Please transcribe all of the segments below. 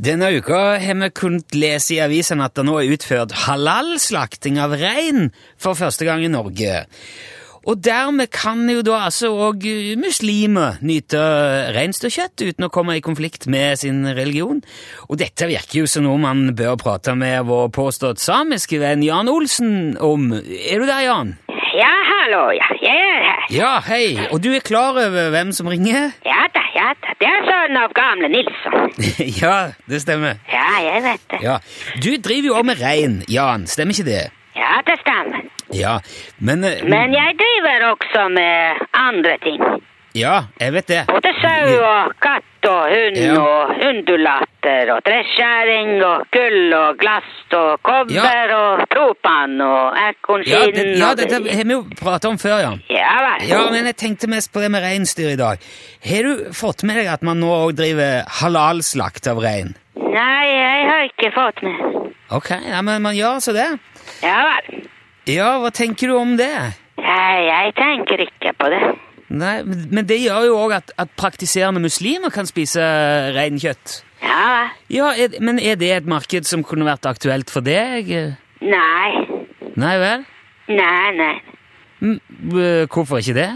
Denne uka har vi kunnet lese i avisen at det nå er utført halalslakting av rein for første gang i Norge. Og dermed kan jo da altså òg muslimer nyte reinsdyrkjøtt uten å komme i konflikt med sin religion. Og dette virker jo som noe man bør prate med vår påstått samiske venn Jan Olsen om. Er du der, Jan? Ja, hallo, ja. Jeg er her. Ja, hei. Og du er klar over hvem som ringer? Ja da, ja da. Det er sønnen av gamle Nilsson. ja, det stemmer. Ja, jeg vet det. Ja. Du driver jo også med rein, Jan. Stemmer ikke det? Ja, det stemmer. Ja, men, eh, Men jeg driver også med andre ting. Ja, jeg vet det. Både sau og katt og hund Ja. og undulater og treskjæring og gull og glass og kobber og propan og Ja, det, ekornskinn ja og- dette har vi jo pratet om før, Jan. Ja vel. Ja, men jeg tenkte mest på det med reinsdyr i dag. Har du fått med deg at man nå også driver halalslakt av rein? Nei, jeg har ikke fått med. Ok, ja, men man gjør altså det. Ja vel. Ja, hva tenker du om det? Nei, jeg tenker ikke på det. Nei, men men det gjør jo også at, at praktiserende muslimer kan spise reinkjøtt. Ja vel. Ja, er, men er det et marked som kunne vært aktuelt for deg? Nei. Nei vel? Nei, nei. M øh, hvorfor ikke det?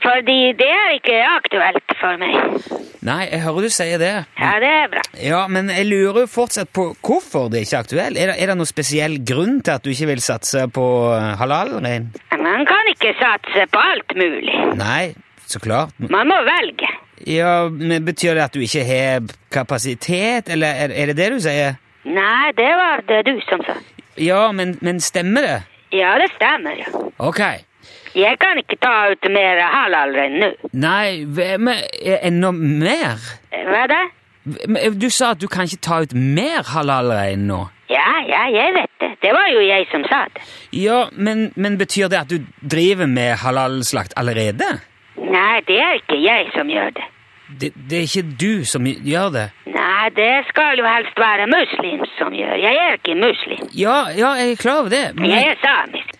Fordi det er ikke aktuelt for meg. Nei, jeg hører du sier det. Ja, det er bra. Ja, men jeg lurer jo fortsatt på hvorfor det ikke er aktuelt. Er det, er det noen spesiell grunn til at du ikke vil satse på eh, halal-rein? Man kan ikke satse på alt mulig. Nei, så klart. Men- Man må velge. Ja, men Betyr det at du ikke har kapasitet, eller er, er det det du sier? Nei, det var det du som sa. Ja, men, men stemmer det? Ja, det stemmer jo. Ok. Jeg kan ikke ta ut mer halal enn nå. Nei, hvem er er enda mer? Hva da? Hvem- eh, Du sa at du kan ikke ta ut mer halal-rein nå. Ja, ja, jeg vet det. Det var jo jeg som sa det. Ja, men, men betyr det at du driver med halalslakt allerede? Nei, det er ikke jeg som gjør det. Det, det er ikke du som gjør det? Nei, det skal jo helst være muslim som gjør. Jeg er ikke muslim. Ja, ja, jeg er klar over det. Jeg Men, er samisk.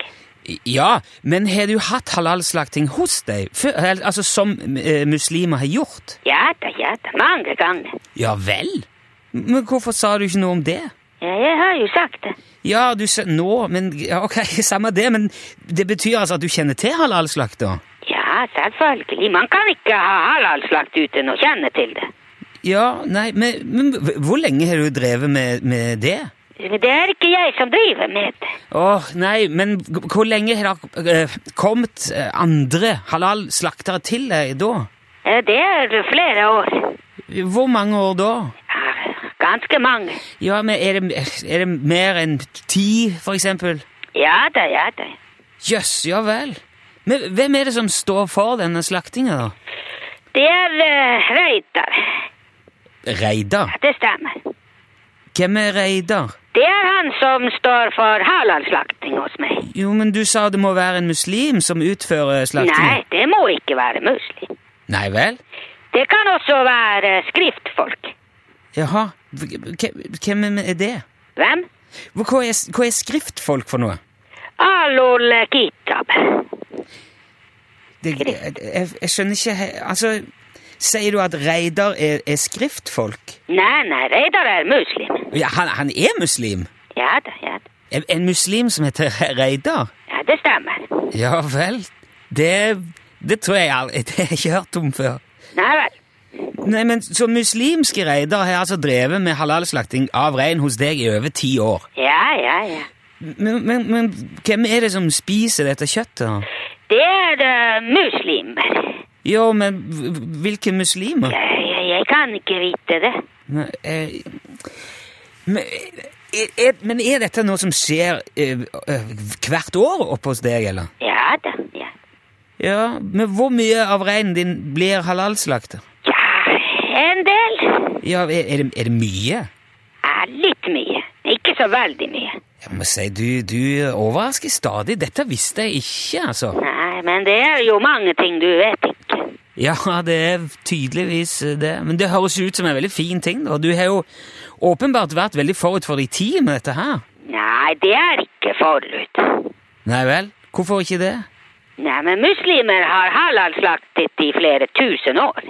ja, men har du hatt halalslakting hos deg? Før, eller, altså som eh, muslimer har gjort? Ja da, ja da. Mange ganger. Ja vel? Men hvorfor sa du ikke noe om det? Ja, jeg har jo sagt det. Ja, du sa nå, men ja, ok, samme det, men det betyr altså at du kjenner til halalslakt da? Ja, selvfølgelig. Man kan ikke ha halalslakt uten å kjenne til det. Ja, nei, men, men hvor lenge har du drevet med, med det? Det er ikke jeg som driver med det. Åh, nei, men g- hvor lenge har det eh, kommet eh, andre halalslaktere til deg da? Eh, Det er flere år. Hvor mange år da? Ja, Ganske mange. Ja, men er det, er det mer enn ti, for eksempel? Ja da, ja da. Jøss, ja vel. Men hvem er det som står for denne slaktinga, da? Det er uh, Reidar. Reidar? Det stemmer. Hvem er Reidar? Det er han som står for halalslakting hos meg. Jo, men du sa det må være en muslim som utfører Nei, slaktinga. det må ikke være muslim. Nei vel? Det kan også være skriftfolk. Jaha. Hvem hvem er det? Hvem? Hva er, hva er skriftfolk for noe? Alul Kitab. Det, jeg, jeg- jeg skjønner ikke he- Altså, sier du at Reidar er, er skriftfolk? Nei, nei, Reidar er muslim. Ja, han, han er muslim? Ja da, ja da. En- En muslim som heter Reidar? Ja, det stemmer. Ja vel. Det, det tror jeg aldri Det har jeg ikke hørt om før. Nei vel. Nei, men Så muslimske reider har altså drevet med halalslakting av rein hos deg i over ti år. Ja, ja, ja. Men, men, men hvem er det som spiser dette kjøttet? da? Det er eh, muslimer. Jo, men hv- hvilke muslimer? Jeg, jeg, jeg kan ikke vite det. Nei, eh, Men, eh, er, er, men er dette noe som skjer eh, eh, hvert år oppe hos deg, eller? Ja da, ja. Ja, Men hvor mye av reinen din blir halalslakta? Ja, en del. Ja, er, er, det, er det mye? Ja, litt mye. Ikke så veldig mye. Jeg må si, du, du overrasker stadig. Dette visste jeg ikke, altså. Nei, men det er jo mange ting du vet ikke. Ja, det er tydeligvis det. Men det høres jo ut som en veldig fin ting, da. Du har jo åpenbart vært veldig forut for din tid med dette her. Nei, det er ikke forut. Nei vel? Hvorfor ikke det? Nei, men muslimer har halalslaktet i flere tusen år.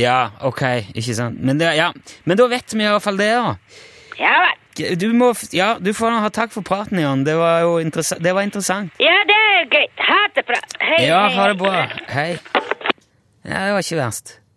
Ja, ok, ikke sant. Men, det, ja. Men da vet vi i hvert fall det, da. Ja vel. Du, må, f- ja, du får ha takk for praten, Jan. Det var jo interessa det var interessant. Ja, det er greit. Ha det bra. Hei, Ja, hei, ha det hei. bra. Hei. Ja, det var ikke verst.